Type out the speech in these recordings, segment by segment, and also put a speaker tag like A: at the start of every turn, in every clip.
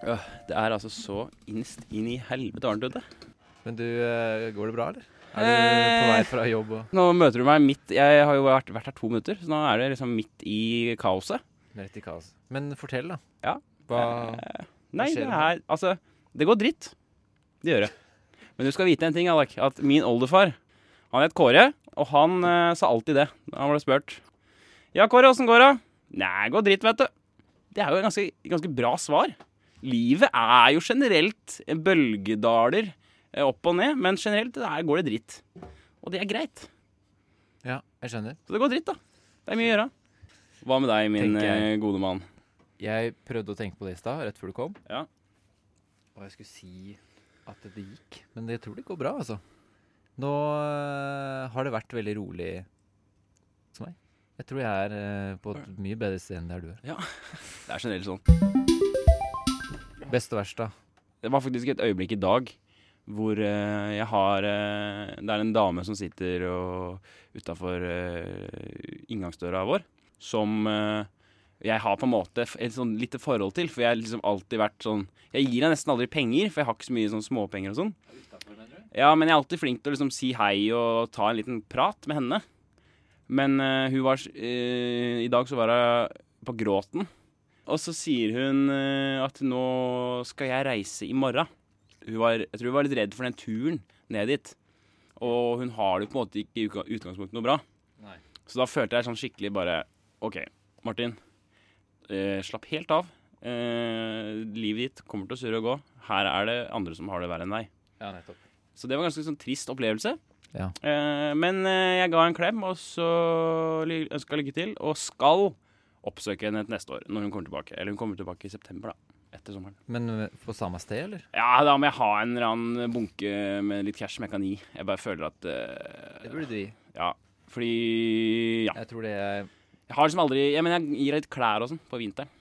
A: Det er altså så innst inn i helvete varmt ute.
B: Men du, eh, går det bra, eller? Er du på
A: Eh.
B: vei fra jobb og
A: Nå møter du meg midt Jeg har jo vært, vært her to minutter, så nå er det liksom midt i kaoset.
B: rett i kaos? Men fortell, da.
A: Ja.
B: Hva
A: Eh, Nei,
B: skjer
A: det
B: med
A: her Altså, det går dritt. Det gjør det. Men du skal vite en ting, Alek. At min oldefar, han het Kåre, og han eh, sa alltid det da han ble spurt. Ja, Kåre, åssen går det? Nei, det går dritt, vet du. Det er jo et ganske, ganske bra svar. Livet er jo generelt bølgedaler eh, opp og ned, men generelt der går det dritt. Og det er greit.
B: Ja, jeg skjønner.
A: Så det går dritt, da. Det er mye å gjøre. Hva med deg, min
B: Tenker
A: eh,
B: jeg.
A: gode mann?
B: Jeg prøvde å tenke på det i stad, rett før du kom.
A: Ja.
B: Og jeg skulle si at det gikk. Men jeg tror det går bra, altså. Nå øh, har det vært veldig rolig hos meg. Jeg tror jeg er øh, på et mye bedre sted enn der du er.
A: Det er generelt sånn.
B: Best og verst, da.
A: Det var faktisk et øyeblikk i dag hvor eh, jeg har eh, Det er en dame som sitter utafor inngangsdøra vår, som eh, jeg har på en måte f- et sånn lite forhold til. For jeg har liksom alltid vært sånn Jeg gir henne nesten aldri penger, for jeg har ikke så mye sånn småpenger og sånn. Ja, men jeg er alltid flink til å liksom si hei og ta en liten prat med henne. Men eh, hun var s- eh, I dag så var hun på gråten. Og så sier hun eh, at nå skal jeg reise i morgen. Hun var, jeg tror hun var litt redd for den turen ned dit. Og hun har det på en måte ikke i uka- utgangspunktet noe bra.
B: Nei.
A: Så da følte jeg sånn skikkelig bare OK, Martin. Eh, slapp helt av. Eh, livet ditt kommer til å surre og gå. Her er det andre som har det verre enn deg.
B: Ja, nettopp.
A: Så det var en ganske sånn trist opplevelse.
B: Ja.
A: Eh, men eh, jeg ga en klem, og så ønska lykke til. Og skal oppsøke henne til neste år når hun kommer tilbake. Eller hun kommer tilbake i september, da. Etter sommeren.
B: Men øh, på samme sted, eller?
A: Ja, da må jeg ha en eller annen bunke med litt cash som jeg kan gi. Jeg bare føler at eh,
B: Det burde du gi.
A: Ja. Fordi Ja.
B: Jeg tror det er
A: Jeg har liksom aldri Jeg mener, jeg gir deg litt klær og sånn på vinteren.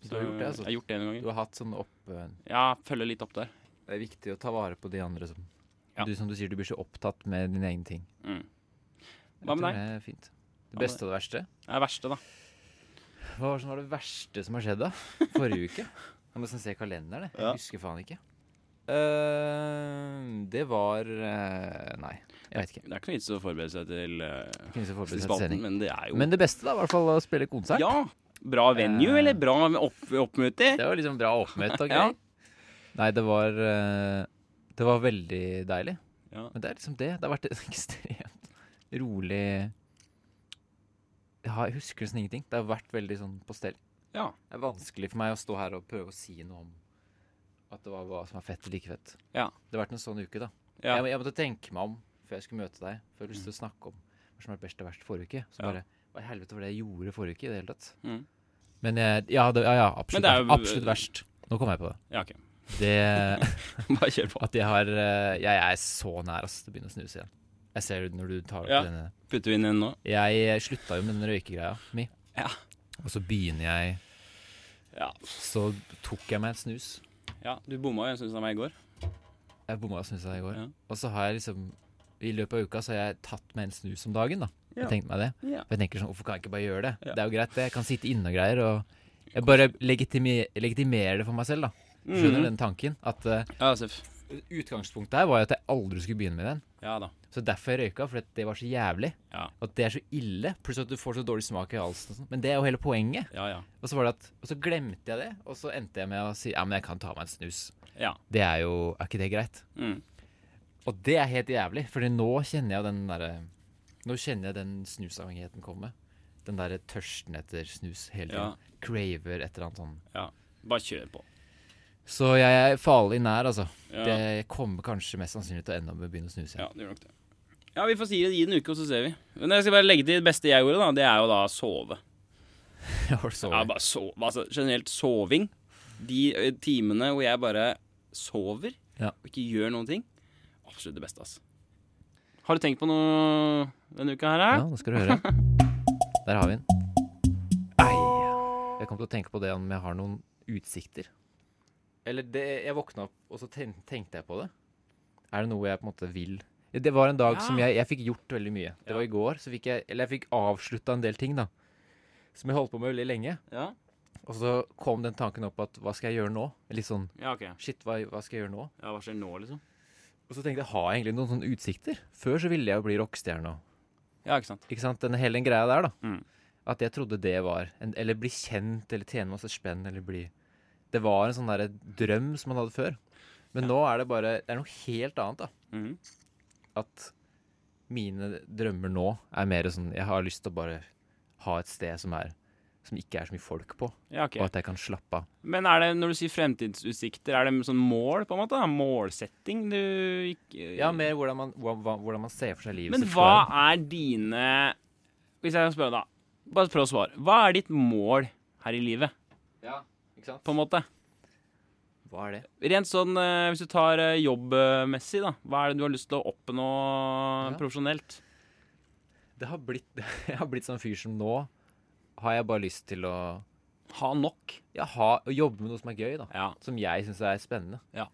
B: Så du har gjort det, altså?
A: Jeg har gjort det noen ganger.
B: Du har hatt sånn opp... øh,
A: Ja, følger litt opp der.
B: Det er viktig å ta vare på de andre som
A: Ja.
B: Du som du sier, du blir så opptatt med dine egne ting.
A: Mm.
B: Jeg
A: Hva med
B: tror
A: deg?
B: Det er fint.
A: med
B: Det beste og det verste?
A: Det er det verste, da.
B: Hva var det som var det verste som har skjedd da? Forrige uke? Jeg må nesten se kalenderen. Jeg. Jeg
A: Ja.
B: husker faen ikke. Eh, det var eh, Nei, jeg vet ikke.
A: Det er ikke noe vits å forberede seg til, eh,
B: Kunne ikke forberede
A: til
B: seg til
A: spalten,
B: sending.
A: men det er jo
B: Men det beste da, var i hvert fall å spille konsert.
A: Ja! Bra venue,
B: Eh.
A: eller bra med opp, oppmøte?
B: Det var liksom bra oppmøte og
A: Ja.
B: greier. Nei, det var eh, Det var veldig deilig.
A: Ja.
B: Men det er liksom det. Det har vært en ekstremt rolig Jeg har- jeg husker nesten ingenting. Det har vært veldig sånn på stell.
A: Ja.
B: Det er vanskelig for meg å stå her og prøve å si noe om at det var hva som er fett eller ikke fett.
A: Ja.
B: Det har vært en sånn uke, da.
A: Ja.
B: Jeg, må- jeg måtte tenke meg om før jeg skulle møte deg. For jeg hadde lyst til å snakke om hva som var best og verst forrige uke. Så
A: Ja.
B: bare Hva i helvete var det jeg gjorde forrige uke i det hele tatt?
A: Mm.
B: Men jeg, ja, det, ja, ja,
A: Men
B: absolutt,
A: det er jo-
B: absolutt verst. Nå kom jeg på det.
A: Ja, OK.
B: Det
A: Bare kjør på.
B: At jeg har eh, Jeg er så nær ass, til å begynne å snuse igjen. Jeg ser det når du tar opp
A: Ja.
B: denne.
A: Putter vi inn en nå?
B: Jeg slutta jo med den røykegreia mi.
A: Ja.
B: Og så begynner jeg
A: Ja.
B: Så tok jeg meg en snus.
A: ja. Du bomma jo en snus av meg i går.
B: Jeg bomma og snusa i går.
A: Ja.
B: Og så har jeg liksom I løpet av uka så har jeg tatt meg en snus om dagen, da.
A: Ja.
B: Jeg tenkte meg det.
A: Ja.
B: For jeg tenker sånn, hvorfor kan jeg ikke bare gjøre det?
A: Ja.
B: Det er jo greit, det. Jeg kan sitte inne og greier. Og jeg bare legitime, legitimerer det for meg selv, da.
A: Mm.
B: Skjønner den tanken. At eh,
A: Ja, Seff.
B: utgangspunktet her var jo at jeg aldri skulle begynne med den.
A: Ja da.
B: Så derfor jeg røyka, fordi at det var så jævlig.
A: Ja.
B: At det er så ille. Pluss at du får så dårlig smak i halsen. Og sånn. men det er jo hele poenget.
A: Ja, ja.
B: Og så var det at, og så glemte jeg det, og så endte jeg med å si ja, men jeg kan ta meg en snus.
A: Ja.
B: Det er jo Er ikke det greit?
A: Mm.
B: Og det er helt jævlig, Fordi nå kjenner jeg den derre Nå kjenner jeg den snusavhengigheten komme. Den derre tørsten etter snus hele
A: Ja.
B: tiden. Craver et eller annet sånn.
A: Bare kjør på.
B: Så jeg er farlig nær, altså.
A: Ja.
B: Det, jeg kommer kanskje mest sannsynlig til å ende opp med å begynne å snuse igjen.
A: Ja, det gjør nok det. Ja, vi får si det i en uke, og så ser vi. Men jeg skal bare legge til det beste jeg gjorde, da. Det er jo da sove.
B: Jeg har sovet.
A: Ja, bare sove. Altså generelt soving. De ø, timene hvor jeg bare sover
B: Ja.
A: og ikke gjør noen ting. Absolutt det beste, altså. Har du tenkt på noe denne uka her?
B: Ja,
A: Ja.
B: nå skal du høre. Der har vi den. Jeg kom til å tenke på det om jeg har noen utsikter. Eller det, jeg våkna opp, og så ten, tenkte jeg på det. Er det noe jeg på en måte vil? Det var en dag
A: Ja.
B: som jeg, jeg fikk gjort veldig mye.
A: Ja.
B: Det var i går. Så fikk jeg, eller jeg fikk avslutta en del ting, da. Som jeg holdt på med veldig lenge.
A: Ja.
B: Og så kom den tanken opp at hva skal jeg gjøre nå? Litt sånn
A: Ja, ok.
B: shit, hva, hva skal jeg gjøre nå?
A: Ja, hva skjer nå, liksom?
B: Og så tenkte jeg, har jeg egentlig noen sånne utsikter? Før så ville jeg jo bli rockestjerne og
A: Ja, ikke sant.
B: Ikke sant? Den hele den greia der, da.
A: Mm.
B: At jeg trodde det var en, Eller bli kjent, eller tjene masse spenn, eller bli Det var en sånn derre drøm som man hadde før. Men nå er det bare Det er noe helt annet, da.
A: Mhm.
B: At mine drømmer nå er mer sånn Jeg har lyst til å bare ha et sted som er Som ikke er så mye folk på,
A: Ja, ok.
B: og at jeg kan slappe av.
A: Men er det, når du sier fremtidsutsikter, er det sånn mål, på en måte? da? Målsetting du ikke
B: Ja, mer hvordan man, hva- hva- hvordan man ser for seg livet
A: Men
B: sitt
A: hva
B: før.
A: er dine Hvis jeg kan spørre, da. Bare prøv å svare. Hva er ditt mål her i livet,
B: Ja, ikke sant?
A: på en måte?
B: Hva er det?
A: Rent sånn eh, hvis du tar eh, jobbmessig, da. Hva er det du har lyst til å oppnå
B: Ja.
A: profesjonelt?
B: Det har blitt, jeg har blitt sånn fyr som nå har jeg bare lyst til å
A: Ha nok.
B: ja, ha, å jobbe med noe som er gøy, da.
A: Ja.
B: Som jeg syns er spennende.
A: Ja.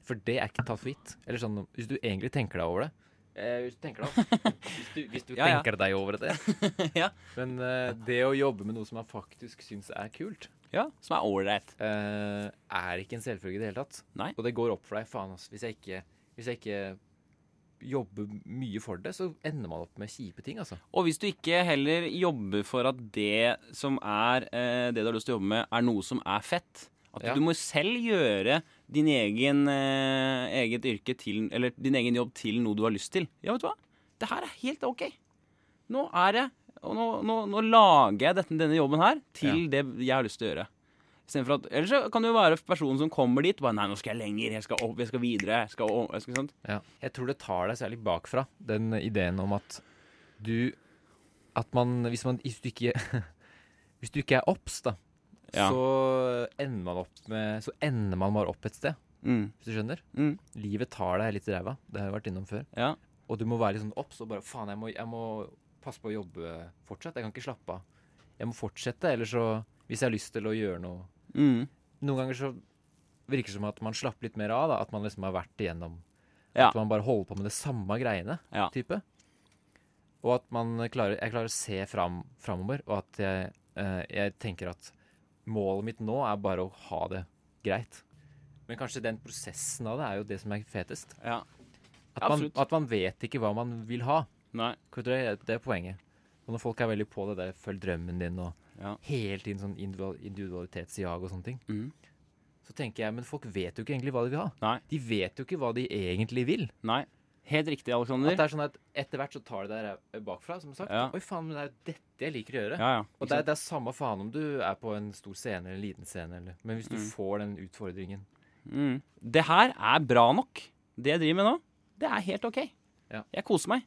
B: For det er ikke tatt for gitt. Eller sånn, hvis du egentlig tenker deg over det. Eh, hvis du tenker deg om- Hvis du, hvis du
A: Ja, ja.
B: tenker deg over det.
A: Ja.
B: Men eh, det å jobbe med noe som man faktisk syns er kult,
A: ja. Som er ålreit.
B: eh, er ikke en selvfølge i det hele tatt.
A: Nei.
B: Og det går opp for deg, faen ass. Hvis jeg ikke, hvis jeg ikke jobber mye for det, så ender man opp med kjipe ting, altså.
A: Og hvis du ikke heller jobber for at det som er eh, det du har lyst til å jobbe med, er noe som er fett At
B: Ja.
A: du må selv gjøre din egen eh, eget yrke til Eller din egen jobb til noe du har lyst til. Ja, vet du hva? Det her er helt OK. Nå er det Og nå, nå, nå lager jeg dette, denne jobben her til det jeg har lyst til å gjøre. Istedenfor at Ellers så kan du jo være personen som kommer dit bare Nei, nå skal jeg lenger. Jeg skal opp. Jeg skal videre. Jeg skal, o- jeg skal sant?
B: Ja. Jeg tror det tar deg særlig bakfra, den ideen om at du At man Hvis, man, hvis du ikke Hvis du ikke er obs, da,
A: Ja.
B: så ender man opp med Så ender man bare opp et sted,
A: Mm.
B: hvis du skjønner?
A: Mm.
B: Livet tar deg litt i ræva, det har jeg vært innom før.
A: Ja.
B: Og du må være litt sånn obs og bare Faen, jeg må, jeg må passe på å jobbe fortsatt. Jeg kan ikke slappe av. Jeg må fortsette, eller så Hvis jeg har lyst til å gjøre noe
A: Mm.
B: Noen ganger så virker det som at man slapper litt mer av, da. At man liksom har vært igjennom
A: Ja.
B: At man bare holder på med det samme greiene.
A: Ja.
B: type. Og at man klarer, jeg klarer å se fram, framover, og at jeg, eh, jeg tenker at målet mitt nå er bare å ha det greit. Men kanskje den prosessen av det er jo det som er fetest.
A: ja.
B: At man,
A: Absolutt.
B: at man vet ikke hva man vil ha.
A: Nei.
B: Hvor Det er, det er poenget. Og når folk er veldig på det der 'følg drømmen din' og
A: Ja.
B: hele tiden sånn individual- individualitetsjag og sånne ting,
A: Mhm.
B: så tenker jeg men folk vet jo ikke egentlig hva de vil ha.
A: Nei.
B: De vet jo ikke hva de egentlig vil.
A: Nei. Helt riktig, Aleksander.
B: At det er sånn at etter hvert så tar det deg bakfra, som sagt.
A: Ja.
B: Oi, faen, men det er jo dette jeg liker å gjøre.
A: Ja, ja.
B: Og det er, det er samme faen om du er på en stor scene eller en liten scene, eller Men hvis du
A: Mm.
B: får den utfordringen
A: Mm. Det her er bra nok. Det jeg driver med nå, det er helt OK.
B: Ja.
A: Jeg koser meg.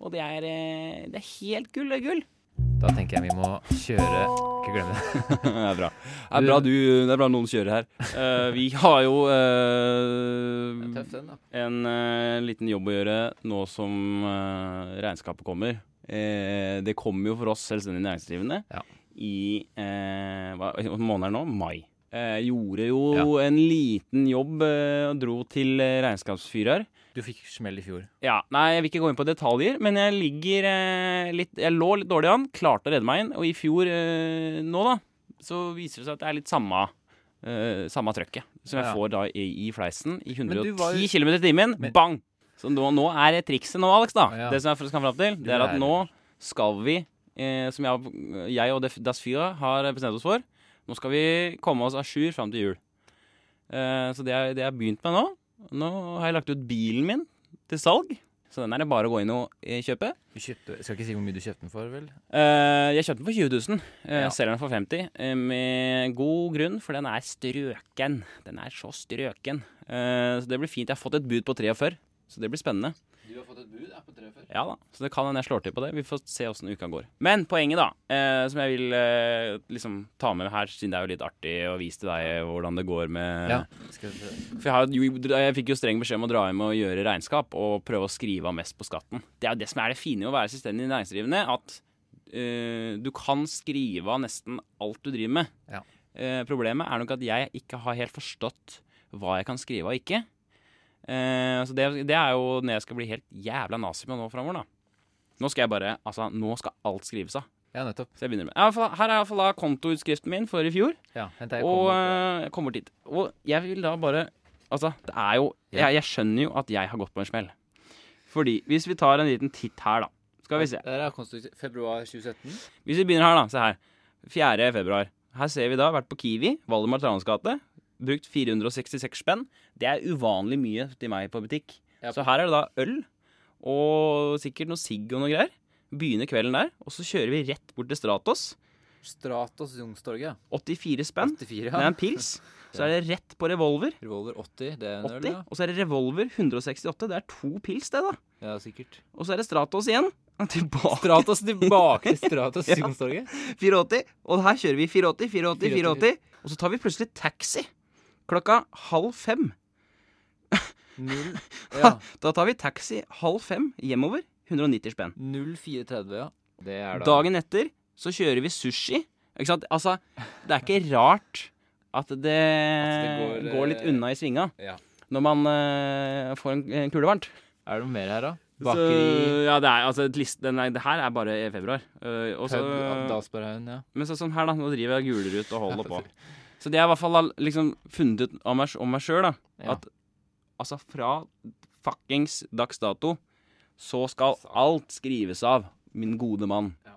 A: Og det er, eh, det er helt gull, det er gull.
B: Da tenker jeg vi må kjøre Ikke glem det.
A: det er bra. Det er bra, du, det er bra noen kjører her. Eh, vi har jo eh,
B: Tøff den, da.
A: en eh, liten jobb å gjøre nå som eh, regnskapet kommer. Eh, det kommer jo for oss selvstendig næringsdrivende
B: Ja.
A: i eh, hva hva måned er det nå? Mai. Eh, gjorde jo
B: Ja.
A: en liten jobb eh, og dro til eh, regnskapsfyrer.
B: Du fikk smell i fjor.
A: Ja, nei, Jeg vil ikke gå inn på detaljer, men jeg ligger eh, litt Jeg lå litt dårlig an, klarte å redde meg inn. Og i fjor, eh, nå da, så viser det seg at det er litt samme eh, Samme trøkket. Som jeg
B: Ja.
A: får da i, i fleisen i
B: Men
A: 110
B: du var jo-
A: km i timen.
B: Men-
A: Bang! Så nå, nå er det trikset nå, Alex, da.
B: Ja.
A: Det som jeg skal fram til, det er at
B: lærer.
A: nå skal vi, eh, som jeg, jeg og Def- Das Fyra har bestemt oss for, nå skal vi komme oss à jour fram til jul. Eh, så det har det jeg har begynt med nå. Nå har jeg lagt ut bilen min til salg. Så den er det bare å gå inn og eh, kjøpe.
B: Du kjøpte Skal ikke si hvor mye du kjøpte den for, vel?
A: Eh, jeg kjøpte den for 20 000. eh,
B: Ja.
A: Selger den for 50 eh, med god grunn, for den er strøken. Den er så strøken. Eh, så det blir fint. Jeg har fått et bud på 43, så det blir spennende.
B: Du har fått et bud på tre før.
A: Ja da, Så det kan hende jeg slår til på det. Vi får se åssen uka går. Men poenget, da, eh, som jeg vil eh, liksom ta med her, siden det er jo litt artig å vise til deg hvordan det går med
B: Ja. Skal vi prøve.
A: For jeg, har, jo- jeg fikk jo streng beskjed om å dra hjem og gjøre regnskap og prøve å skrive av mest på skatten. Det er jo det som er det fine med å være selvstendig næringsdrivende, at eh, du kan skrive av nesten alt du driver med.
B: Ja.
A: Eh, problemet er nok at jeg ikke har helt forstått hva jeg kan skrive av og ikke. Eh, så det, det er jo når jeg skal bli helt jævla nazi med nå framover, da. Nå skal jeg bare Altså, nå skal alt skrives av.
B: Ja, nettopp.
A: Så jeg begynner med. Ja, for- Her er iallfall da kontoutskriften min for i fjor.
B: Ja, vent, jeg
A: og
B: kommer opp.
A: eh, jeg kommer dit. Og jeg vil da bare Altså, det er jo
B: Ja.
A: jeg, jeg skjønner jo at jeg har gått på en smell. Fordi Hvis vi tar en liten titt her, da. Skal vi se.
B: Der er konstruktivt. Februar 2017.
A: Hvis vi begynner her, da. Se her. 4. februar. Her ser vi da vært på Kiwi, Valdemar Tranes gate. Brukt 466 spenn. Det er uvanlig mye til meg på butikk.
B: Ja.
A: Så her er det da øl og sikkert noe sigg og noe greier. Begynner kvelden der, og så kjører vi rett bort til Stratos.
B: Stratos Youngstorget.
A: 84 spenn.
B: 84,
A: Det er
B: ja.
A: en pils. Så er det rett på revolver.
B: Revolver 80, det er en øl,
A: 80.
B: ja.
A: Og så er det revolver 168. Det er to pils, det, da.
B: Ja, sikkert.
A: Og så er det Stratos igjen. Tilbake
B: Stratos tilbake til Stratos
A: Ja.
B: Youngstorget.
A: 480. Og her kjører vi 480, 480, 480. Og så tar vi plutselig taxi klokka halv fem.
B: Null- Ja.
A: Da tar vi taxi halv fem hjemover. 190 spenn.
B: 0430, ja. Det er da
A: Dagen etter så kjører vi sushi. Ikke sant? Altså, det er ikke rart at det,
B: At det
A: går,
B: går,
A: litt
B: eh,
A: unna i svinga
B: ja.
A: når man eh, får en, en kule varmt.
B: Er det noe mer her, da?
A: Så,
B: Bakeri,
A: ja, det er altså et list, den er, Det her er bare i februar. Eh, og så-
B: pub, Dalsberghaugen, ja.
A: men så, sånn her, da. Nå driver jeg og guler ut og holder på. Så det jeg i hvert fall har liksom funnet ut om meg, om meg sjøl, da.
B: Ja.
A: At altså fra fuckings dags dato så skal alt skrives av, min gode mann.
B: Ja.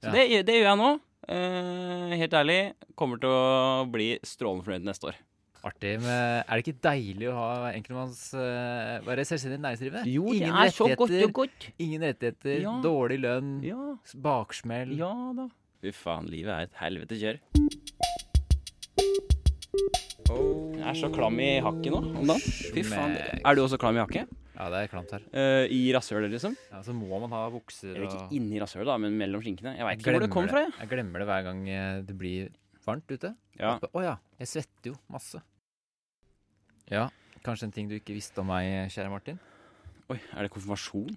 A: Så
B: Ja.
A: Det, det gjør jeg nå. Eh, helt ærlig, kommer til å bli strålende fornøyd neste år.
B: Artig, men er det ikke deilig å ha enkeltmanns uh, Være selvstendig næringsdrivende? ingen rettigheter,
A: godt.
B: ingen rettigheter,
A: Ja.
B: dårlig lønn,
A: Ja,
B: baksmell
A: ja da. Fy faen, livet er et helvete kjør. Jeg er så klam i hakket nå om dagen. Fy faen. Er du også klam i hakket?
B: Ja, det er klamt her.
A: Eh, I rasshølet, liksom?
B: Ja, så må man ha bukser
A: Eller
B: og
A: ikke inni rasshølet, da, men mellom skinkene. Jeg veit
B: Jeg
A: ikke hvor det
B: glemmer
A: kom fra, jeg.
B: Jeg glemmer det hver gang eh, det blir varmt ute.
A: Ja.
B: At, Å ja, jeg svetter jo masse. Ja, kanskje en ting du ikke visste om meg, kjære Martin,
A: Oi, er det konfirmasjon?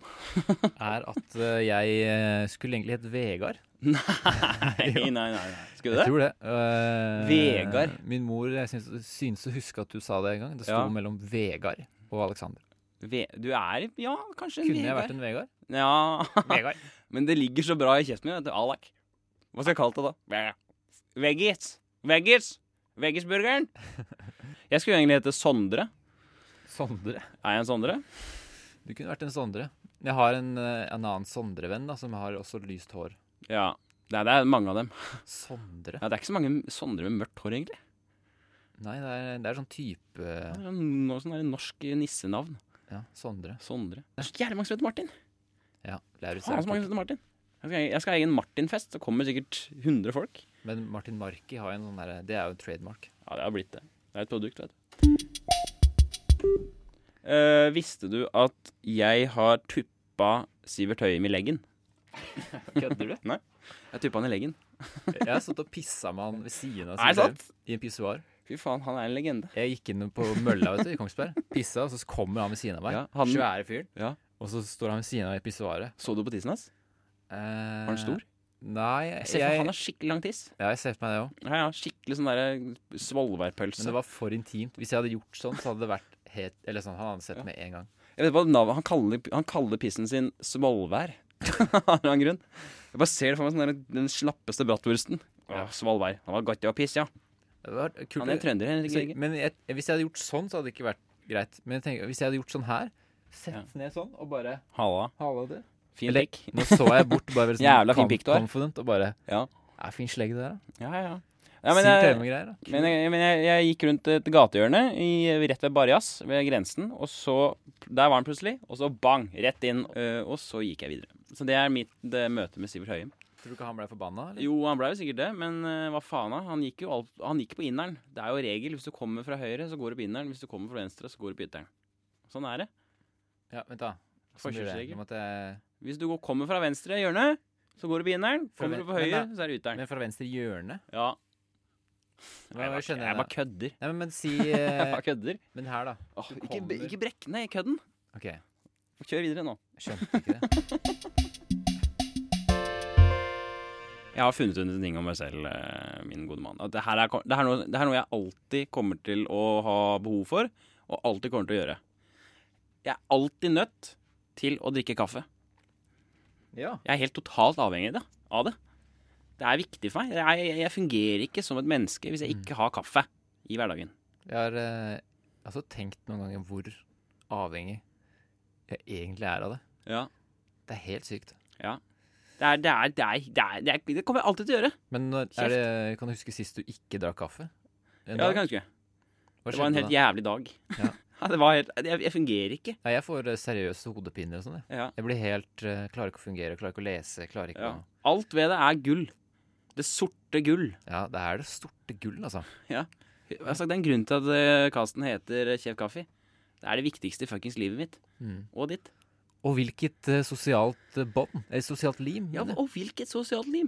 B: er at eh, jeg eh, skulle egentlig hett Vegard.
A: Nei, nei, nei. nei. Skulle du
B: Jeg
A: det?
B: tror det. Eh,
A: Vegard.
B: Min mor jeg syns, syns å huske at du sa det en gang. Det sto
A: Ja. mellom
B: mellom Vegard og Alexander.
A: Ve du er Ja, kanskje en
B: Kunne jeg
A: Vegard.
B: vært en Vegard?
A: Ja.
B: Vegard.
A: Men det ligger så bra i kjeften min. vet du. Alak. Hva skal jeg kalle det, da? Vegard. Veggis. Veggis. Veggisburgeren. Jeg skulle egentlig hete Sondre.
B: Sondre.
A: Er jeg en Sondre?
B: Du kunne vært en Sondre. Jeg har en, eh, en annen Sondre-venn da, som har også lyst hår.
A: Ja. Nei, det er mange av dem.
B: Sondre?
A: Ja, det er ikke så mange Sondre med mørkt hår, egentlig.
B: Nei, det er, det er sånn type
A: Det er noe sånn der norsk nissenavn.
B: Ja, Sondre.
A: Sondre. Det er så jævlig mange som heter Martin.
B: Ja, Laurits
A: Faen, så mange
B: Ertug.
A: som heter Martin. Jeg skal, jeg skal ha egen Martin-fest. Så kommer sikkert 100 folk.
B: Men Martin Marki har jo en sånn derre Det er jo en trademark.
A: Ja, det har blitt det. Det er et produkt, vet du. Eh, visste du at jeg har tuppa Sivert Høyem i leggen?
B: Kødder du?
A: Nei. Jeg tuppa han i leggen.
B: Jeg har stått og pissa med han ved siden av
A: Er det sant?
B: i en pissoar.
A: Fy faen, han er en legende.
B: Jeg gikk inn på mølla vet du, i Kongsberg, pissa, og så kommer han ved siden av meg.
A: Ja, han-
B: Svære fyren.
A: Ja.
B: Og så står han ved siden av i pissoaret.
A: Så du på tissen hans?
B: Var
A: Var den stor?
B: Nei,
A: Eh, Jeg
B: jeg,
A: ser for
B: jeg,
A: han har skikkelig lang tiss.
B: ja, jeg ser for meg det òg.
A: Ja, ja, skikkelig sånn derre
B: Men
A: svolværpølse.
B: det var for intimt. Hvis jeg hadde gjort sånn, så hadde det vært helt Eller sånn, han hadde sett med en gang.
A: Jeg vet hva navnet, han, kaller, han kaller pissen sin svolvær. Av en eller annen grunn. Jeg bare ser det for meg sånn der, den slappeste bratwursten. Ja. Svolvær. Han var godt i å pisse, ja.
B: Det var kult.
A: Han er trønder. Henrik
B: Så-
A: Egge.
B: men jeg, hvis jeg hadde gjort sånn, så hadde det ikke vært greit. Men jeg tenker, hvis jeg hadde gjort sånn her Sett
A: Ja.
B: ned sånn, og bare
A: Halla.
B: Halla, du.
A: Fin
B: Eller-
A: pikk.
B: Nå så jeg bort, bare veldig sånn
A: Jævla fin
B: conf-
A: pikk du har.
B: Confident, og bare
A: Ja.
B: Ja, fin slegg det der, da.
A: Ja, ja.
B: Ja,
A: ja men,
B: Sykt
A: jeg,
B: Høymo-greier, da.
A: men, jeg, men jeg, jeg gikk rundt et gatehjørne i, rett ved Barjas, ved grensen, og så Der var han plutselig, og så bang! Rett inn. øh, og så gikk jeg videre. Så det er mitt det, møte med Sivert Høyem.
B: Tror du ikke han ble forbanna? eller?
A: Jo, han blei jo sikkert det, men øh, hva faen da? Han gikk jo alt, han gikk på inneren. Det er jo regel. Hvis du kommer fra høyre, så går du på inneren. Hvis du kommer fra venstre, så går du på ytteren. Sånn er det.
B: Ja, vent, da. Sånn blir det.
A: Forkjørsregel.
B: Nå måtte jeg-
A: Hvis du går- kommer fra venstre hjørne, så går du på inneren.
B: Fra
A: Kommer
B: ven-
A: du på høyre,
B: men da-
A: så er det ytteren.
B: Men fra venstre hjørne?
A: Ja.
B: Hva-
A: Jeg
B: hva
A: bare,
B: skjønner
A: jeg bare
B: da?
A: kødder.
B: Nei, men, men si
A: Jeg
B: eh,
A: bare kødder.
B: Men her, da.
A: Åh,
B: du
A: ikke,
B: kommer-
A: ikke brekk ned kødden.
B: OK. Jeg
A: Kjør videre nå.
B: skjønte ikke det.
A: Jeg har funnet ut en ting om meg selv, eh, min gode mann. At Det her, er, ko- det, her er noe, det her er noe jeg alltid kommer til å ha behov for, og alltid kommer til å gjøre. Jeg er alltid nødt til å drikke kaffe.
B: Ja.
A: Jeg er helt totalt avhengig av det. Av det. Det er viktig for meg. Jeg, jeg, jeg fungerer ikke som et menneske hvis jeg
B: Mm.
A: ikke har kaffe i hverdagen.
B: Jeg har eh, altså tenkt noen ganger hvor avhengig jeg egentlig er av det.
A: Ja.
B: Det er helt sykt.
A: Det, er, det, er, det, er, det, er, det, er, det kommer jeg alltid til å gjøre.
B: Men når, er det, kan du huske sist du ikke drakk kaffe?
A: Ja, det
B: En dag?
A: kan jeg huske.
B: Hva
A: Det var en
B: skjedde
A: helt
B: da?
A: jævlig dag.
B: Ja.
A: Ja, det var helt, jeg, jeg fungerer ikke.
B: Nei, jeg får eh, seriøse hodepiner og sånn. jeg.
A: Ja.
B: Jeg blir helt eh, Klarer ikke å fungere, klarer ikke å lese, klarer ikke
A: Ja.
B: å
A: Alt ved det er gull. Det sorte gull.
B: Ja, det er det sorte gull, altså.
A: Jeg har sagt, Det er en grunn til at eh, casten heter Kjev Kaffe. Det er det viktigste i fuckings livet mitt.
B: Mm.
A: Og ditt.
B: Og hvilket eh, sosialt eh, bånd, eller sosialt lim,
A: Ja,
B: mener jeg.
A: og hvilket sosialt lim!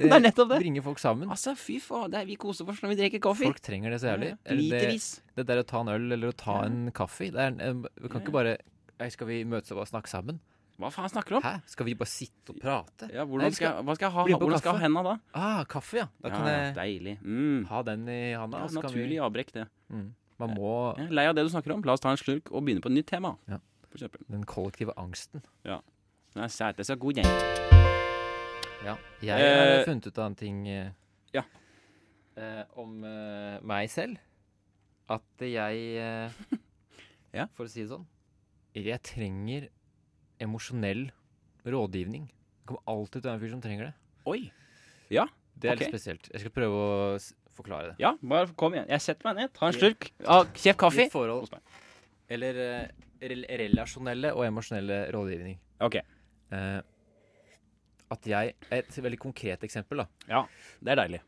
A: det er nettopp det.
B: bringer folk sammen.
A: Altså, fy faen. det er- Vi koser oss når vi drikker kaffe.
B: Folk trenger det så jævlig.
A: Ja,
B: det,
A: Litervis.
B: det der å ta en øl eller å ta
A: Ja.
B: en kaffe det er, en- eh, Vi
A: Ja,
B: kan
A: ja.
B: ikke bare «Ei, Skal vi møtes og bare snakke sammen?
A: Hva faen snakker du om?
B: Hæ? Skal vi bare sitte og prate?
A: Ja,
B: Nei,
A: hvordan
B: vi
A: skal, jeg- hva skal jeg ha,
B: bli på
A: hvordan skal jeg ha henda da?
B: Ah, kaffe, ja. Da kan
A: ja,
B: jeg
A: Deilig. Mm.
B: ha den i handa.
A: Ja,
B: og så kan vi-
A: naturlig avbrekk, det.
B: Mm. Man må
A: Jeg er lei av det du snakker om. La oss ta en slurk og begynne på et nytt tema.
B: Ja.
A: For eksempel.
B: Den kollektive angsten.
A: Nei, sæte så god gjeng.
B: Ja. Jeg har
A: Eh,
B: funnet ut av en ting eh,
A: ja.
B: eh, om eh, meg selv. At jeg eh,
A: Ja.
B: For å si det sånn. Jeg trenger emosjonell rådgivning. Det kommer alltid til å være en fyr som trenger det.
A: Oi.
B: Det er
A: Ok.
B: litt spesielt. Jeg skal prøve å s- forklare det.
A: Ja, bare kom igjen. Jeg setter meg ned, tar en slurk. Ja, Kjeft kaffe.
B: Mitt forhold
A: Hos meg.
B: Eller eh, rel relasjonelle og emosjonelle rådgivning.
A: Ok,
B: Eh, at jeg Et veldig konkret eksempel, da.
A: det er deilig.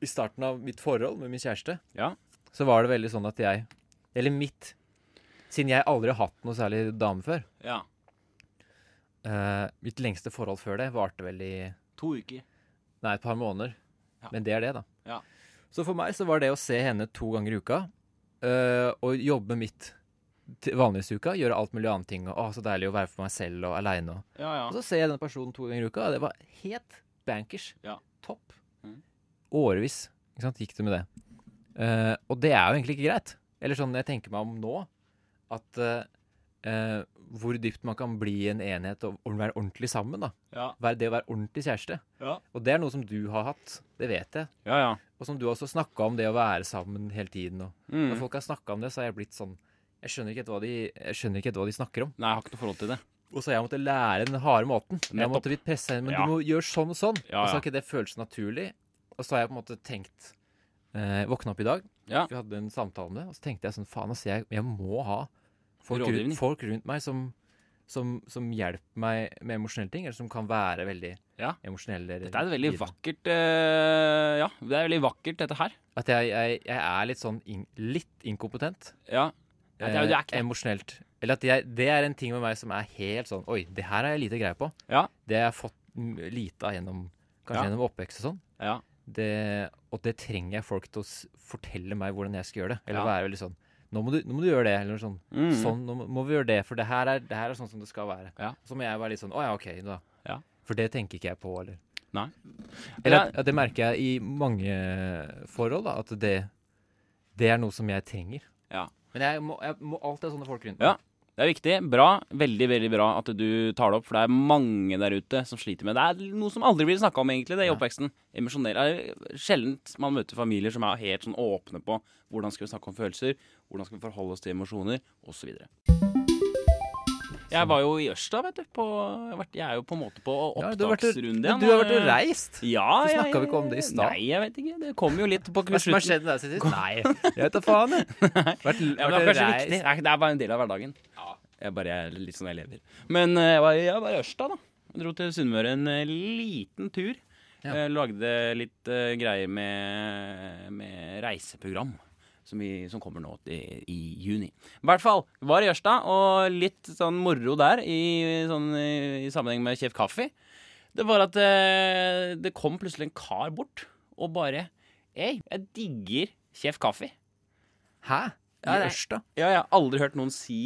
B: I starten av mitt forhold med min kjæreste,
A: Ja.
B: så var det veldig sånn at jeg Eller mitt Siden jeg aldri har hatt noe særlig dame før.
A: Ja.
B: eh, mitt lengste forhold før det varte vel i
A: To uker.
B: Nei, et par måneder.
A: Ja.
B: Men det er det, da.
A: Ja.
B: Så for meg så var det å se henne to ganger i uka eh, og jobbe mitt til vanligvis i uka, gjøre alt mulig annet ting. Og, å, så deilig å være for meg selv og aleine. Og.
A: Ja, ja.
B: og så ser jeg denne personen to ganger i uka, og det var helt bankers.
A: Ja.
B: Topp.
A: Mhm.
B: Årevis ikke sant, gikk det med det. Eh, og det er jo egentlig ikke greit. Eller sånn jeg tenker meg om nå, at eh, eh, hvor dypt man kan bli i en enhet og og være ordentlig sammen. da.
A: Ja,
B: Være- Det å være ordentlig kjæreste.
A: ja.
B: Og det er noe som du har hatt, det vet jeg.
A: ja, ja.
B: Og som du også snakka om, det å være sammen hele tiden. Og når
A: Mm.
B: folk har snakka om det, så har jeg blitt sånn jeg skjønner, ikke helt hva de, jeg skjønner ikke helt hva de snakker om.
A: Nei, jeg har ikke noe forhold til det.
B: Og så har jeg måttet lære den harde måten. Jeg
A: Nettopp.
B: måtte blitt pressa inn, men
A: Ja.
B: du må gjøre sånn og sånn.
A: Ja,
B: Og så
A: ja.
B: har ikke det føltes naturlig. Og så har jeg på en måte tenkt eh, Våkna opp i dag,
A: Ja.
B: vi hadde en samtale om det, og så tenkte jeg sånn Faen, altså, jeg, jeg må ha folk,
A: Rådgivning.
B: rundt, folk rundt meg som, som, som hjelper meg med emosjonelle ting, eller som kan være veldig
A: Ja.
B: emosjonelle. eller
A: Dette er et veldig
B: givende.
A: vakkert eh, Ja, det er veldig vakkert, dette her.
B: At jeg, jeg, jeg er litt sånn in, litt inkompetent.
A: Ja. Ja, det er- du er ikke
B: eh,
A: det.
B: emosjonelt. Eller at jeg, det er en ting med meg som er helt sånn Oi, det her har jeg lite greie på.
A: Ja.
B: Det har jeg fått mm, lite av gjennom Kanskje
A: Ja.
B: gjennom oppvekst og sånn.
A: Ja.
B: Det, og det trenger jeg folk til å s- fortelle meg hvordan jeg skal gjøre det. Eller
A: Ja.
B: være veldig sånn nå må, du, nå må du gjøre det, eller noe sånn.
A: Mm.
B: sånn nå må- må vi gjøre det, for det her er, det her er sånn som det skal være.
A: Ja.
B: Så må jeg være litt sånn Å ja, OK, da.
A: Ja.
B: For det tenker ikke jeg på, eller.
A: Nei.
B: Eller at, at det merker jeg i mange forhold, da. At det, det er noe som jeg trenger.
A: Ja.
B: Men jeg må, jeg må alltid ha sånne folk rundt
A: Ja. Det er viktig. Bra. Veldig veldig bra at du tar det opp, for det er mange der ute som sliter med det. Det er noe som aldri blir snakka om, egentlig, det i
B: Ja.
A: oppveksten. Emosjonell er Sjelden man møter familier som er helt sånn åpne på hvordan skal vi snakke om følelser, hvordan skal vi forholde oss til emosjoner, osv. Jeg var jo i Ørsta, vet du. På, jeg har vært- jeg er jo på en måte på
B: Ja, du har vært-
A: opptaksrunde.
B: Men
A: igjen,
B: du har vært
A: og-
B: og reist!
A: Ja,
B: Hvorfor
A: ja,
B: snakket vi ikke om det i
A: ja,
B: stad?
A: Nei, jeg vet ikke. Det kom jo litt på
B: Hva er det som har
A: slutten.
B: skjedd med deg siden sist? Nei, jeg vet da faen, jeg. Vært,
A: Ja, men det er kanskje viktig. Det er, det er bare en del av hverdagen. Jeg bare er litt sånn jeg lever. Men eh, jeg var, jeg var i Ørsta, da. Jeg dro til Sunnmøre en eh, liten tur.
B: Ja.
A: Eh, lagde litt eh, greier med, med reiseprogram. Som, vi, som kommer nå til, i juni. I hvert fall var i Ørsta, og litt sånn moro der i, sånn, i, i sammenheng med Kjef Kaffe. Det var at eh, det kom plutselig en kar bort og bare Ei, jeg digger Kjef Kaffe.
B: Hæ?
A: Ja,
B: I
A: det er-
B: Ørsta?
A: Ja, jeg har aldri hørt noen si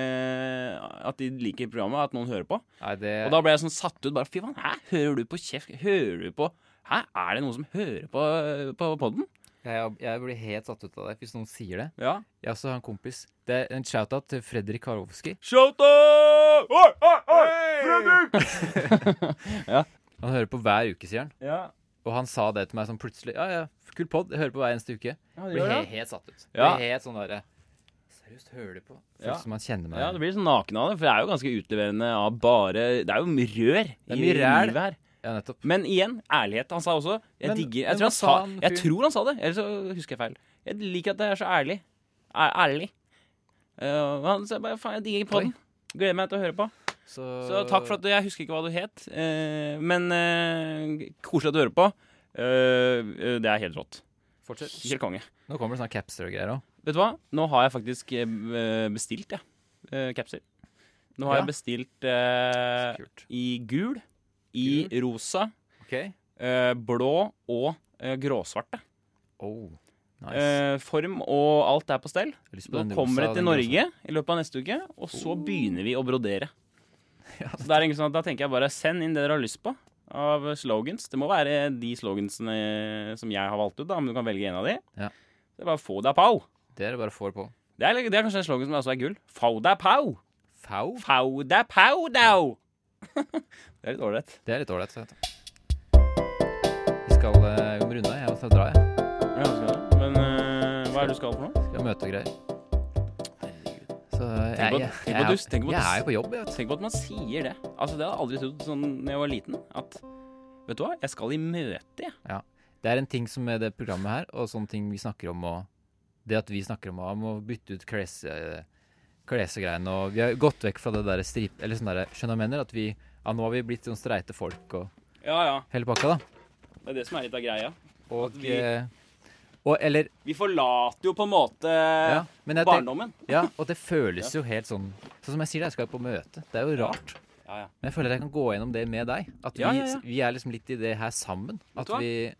A: eh, at de liker programmet, at noen hører på.
B: Nei, det
A: Og da ble jeg sånn satt ut. bare, Fy faen, hæ? Hører du på kjeft? Hører du på Hæ, er det noen som hører på, på podden?
B: jeg, jeg blir helt satt ut av det hvis noen sier det.
A: Ja.
B: Jeg også har en kompis. Det er En shout-out til Fredrik Karolfsky.
A: Shout out! Oi, oi, oi! Fredrik!
B: Han hører på hver uke, sier han.
A: Ja,
B: Og han sa det til meg sånn plutselig. Ja, ja, kul pod. Jeg hører på hver eneste uke.
A: ja,
B: Blir helt, helt satt ut.
A: Ja.
B: Blir helt sånn derre Seriøst, hører du på? Føles
A: Ja.
B: som han kjenner meg.
A: Ja, det blir sånn naken av det, for det er jo ganske utleverende av bare Det er jo mye rør
B: er
A: i
B: mye ræl.
A: livet her.
B: Ja, nettopp.
A: Men igjen, ærlighet. Han sa også Jeg
B: Men-
A: digger
B: men
A: Jeg tror
B: hva
A: han sa,
B: sa han
A: jeg
B: fyren?
A: tror han sa det, eller så husker jeg feil. Jeg liker at det er så ærlig. Æ- ærlig. Eh, han sa bare faen, jeg digger podden. Gleder meg til å høre på.
B: Så,
A: Så takk for at du Jeg husker ikke hva du het, eh, men eh, koselig at du hører på. Eh, eh, det er helt rått.
B: Fortsett.
A: Helt konge.
B: Nå kommer det sånne capster-greier òg.
A: Vet du hva? Nå har jeg faktisk eh, bestilt, jeg. Ja. Capser. Nå har
B: Ja.
A: jeg bestilt eh,
B: Kult.
A: i gul, i rosa,
B: OK.
A: eh, blå og eh, gråsvarte.
B: Oh, nice.
A: Eh, form og alt er på stell.
B: Jeg har lyst på
A: Nå
B: den
A: kommer
B: rosa,
A: det til
B: den Oh.
A: Norge i løpet av neste uke, og så begynner vi å brodere.
B: Ja.
A: Så det er egentlig sånn at Da tenker jeg bare send inn det dere har lyst på av slogans. Det må være de slogansene som jeg har valgt ut, da, men du kan velge en av de.
B: Ja.
A: Det er bare få deg pau.
B: rosa. Det er det bare får på.
A: Det er, det er kanskje en slogan som også er gull. Fau deg pau!
B: Fau.
A: Fau deg pau dau! det er litt ålreit.
B: Det er litt ålreit. så vet du. Vi skal eh, vi må runde. Jeg må dra, jeg.
A: Men øh, hva er det du skal for noe?
B: Skal møte og greier. Så eh,
A: Tenk på- tenk på
B: jeg, jeg, jeg,
A: dus- tenk på
B: jeg,
A: dus.
B: er jo på jobb, jeg vet
A: Tenk på at man sier det. Altså, Det hadde jeg aldri trodd sånn da jeg var liten. At Vet du hva, jeg skal i møte, jeg.
B: Det er en ting som er det programmet her, og sånne ting vi snakker om, og det at vi snakker om, om å bytte ut kles- eh, klesegreiene, og vi har gått vekk fra det der strip... Eller sånn derre Skjønner du hva jeg mener? At vi Ja, nå har vi blitt sånn streite folk og
A: Ja ja.
B: hele pakka, da.
A: Det er det som er litt av greia.
B: Og,
A: vi-
B: eh, og eller
A: Vi forlater jo på en måte
B: Ja, men jeg tenk-
A: barndommen.
B: Ja, og det føles jo helt sånn Sånn som jeg sier det, jeg skal jo på møte. Det er jo rart.
A: Ja, ja.
B: Men jeg føler jeg kan gå gjennom det med deg. At vi,
A: Ja, ja, ja.
B: vi er liksom litt i det her sammen. At
A: du hva?
B: vi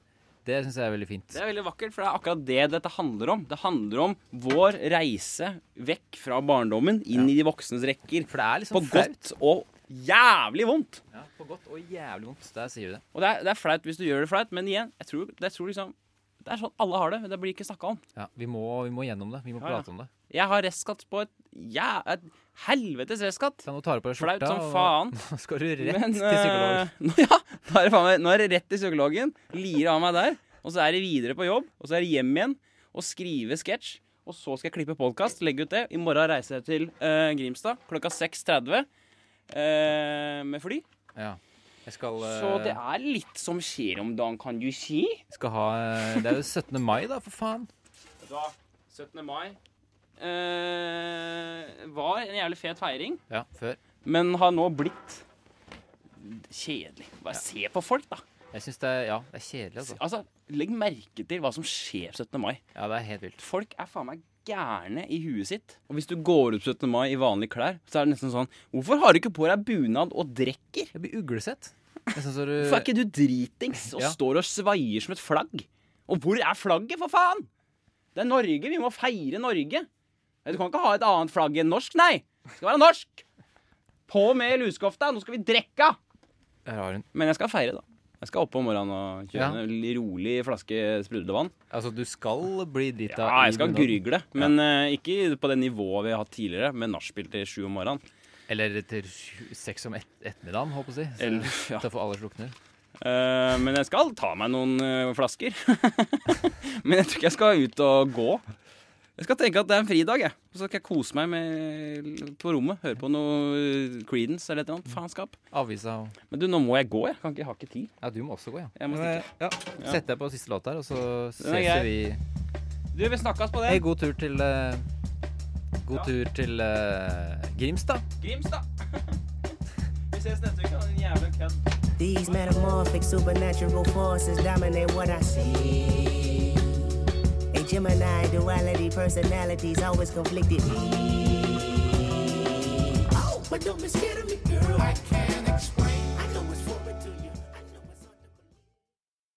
B: Det syns jeg er veldig fint.
A: Det er veldig vakkert, for det er akkurat det dette handler om. Det handler om vår reise vekk fra barndommen, inn i de voksnes rekker.
B: For det er liksom
A: På godt og jævlig vondt.
B: Ja, på godt og jævlig vondt. Der sier du det.
A: Og det er, det er flaut hvis du gjør det flaut, men igjen, jeg tror, jeg tror liksom Det er sånn alle har det, men det blir ikke snakka om.
B: Ja, vi må, vi må gjennom det. Vi må
A: Ja, ja.
B: prate om det.
A: Jeg har restskatt på et, ja, et helvetes restskatt.
B: Så nå tar du på deg
A: Flaut
B: skjorta,
A: som
B: og-
A: faen.
B: nå skal du rett
A: Men,
B: til psykolog.
A: eh, nå- ja, da er det faen meg, nå er det rett til psykologen. Lirer av meg der. Og så er det videre på jobb, og så er det hjem igjen og skrive sketsj. Og så skal jeg klippe podkast, legge ut det. I morgen reiser jeg til eh, Grimstad klokka 6.30 eh, med fly.
B: Ja. Jeg skal, eh,
A: Så det er litt som skjer om dagen, kan du si.
B: skal ha eh, Det er jo 17. mai, da, for faen.
A: Vet du hva? 17. mai eh, var en jævlig fet feiring,
B: Ja, før.
A: men har nå blitt kjedelig. Bare se på folk, da.
B: Jeg syns det er Ja, det er kjedelig, altså.
A: Altså, Legg merke til hva som skjer 17. mai.
B: Ja, det er helt vilt.
A: Folk er faen meg gærne i huet sitt. Og hvis du går ut 17. mai i vanlige klær, så er det nesten sånn Hvorfor har du ikke på deg bunad og drikker?
B: Jeg blir uglesett. Nesten så du
A: Hvorfor er ikke du dritings og
B: Ja.
A: står og svaier som et flagg? Og hvor er flagget, for faen? Det er Norge. Vi må feire Norge. Du kan ikke ha et annet flagg enn norsk, nei. Det skal være norsk. På med lusekofta. Nå skal vi drikke.
B: Her har hun
A: Men jeg skal feire, da. Jeg skal opp om morgenen og kjøre
B: Ja.
A: en rolig flaske sprudlevann.
B: Altså, du skal bli drita
A: Ja,
B: i
A: jeg skal
B: bunaden.
A: gurgle. Men eh, ikke på det nivået vi har hatt tidligere, med nachspiel til sju om morgenen.
B: Eller til sju- seks om et, ettermiddagen, håper jeg å si.
A: Eller, ja.
B: Så for alle slukner.
A: Eh, men jeg skal ta meg noen eh, flasker. men jeg tror ikke jeg skal ut og gå. Jeg skal tenke at det er en fridag, jeg. Og så skal jeg kose meg med, på rommet. Høre på noe eh, Creedence eller et eller annet faenskap.
B: Avisa og
A: Men du, nå må jeg gå, jeg. Kan ikke, jeg har ikke tid.
B: Ja, du må også gå, ja.
A: Jeg må
B: Men,
A: stikke.
B: ja. Sett deg på siste låt her, og så ses
A: grei.
B: vi.
A: Du, vi snakkes på
B: Hei,
A: det.
B: god tur til eh, God
A: Ja.
B: tur til eh, Grimstad.
A: Grimstad. vi ses neste uke, da, din jævla kødd.
C: These metamorphic supernatural forces dominate what I see. A Gemini duality, personalities always conflicted. Me. Oh, but don't be scared of me, girl. I can.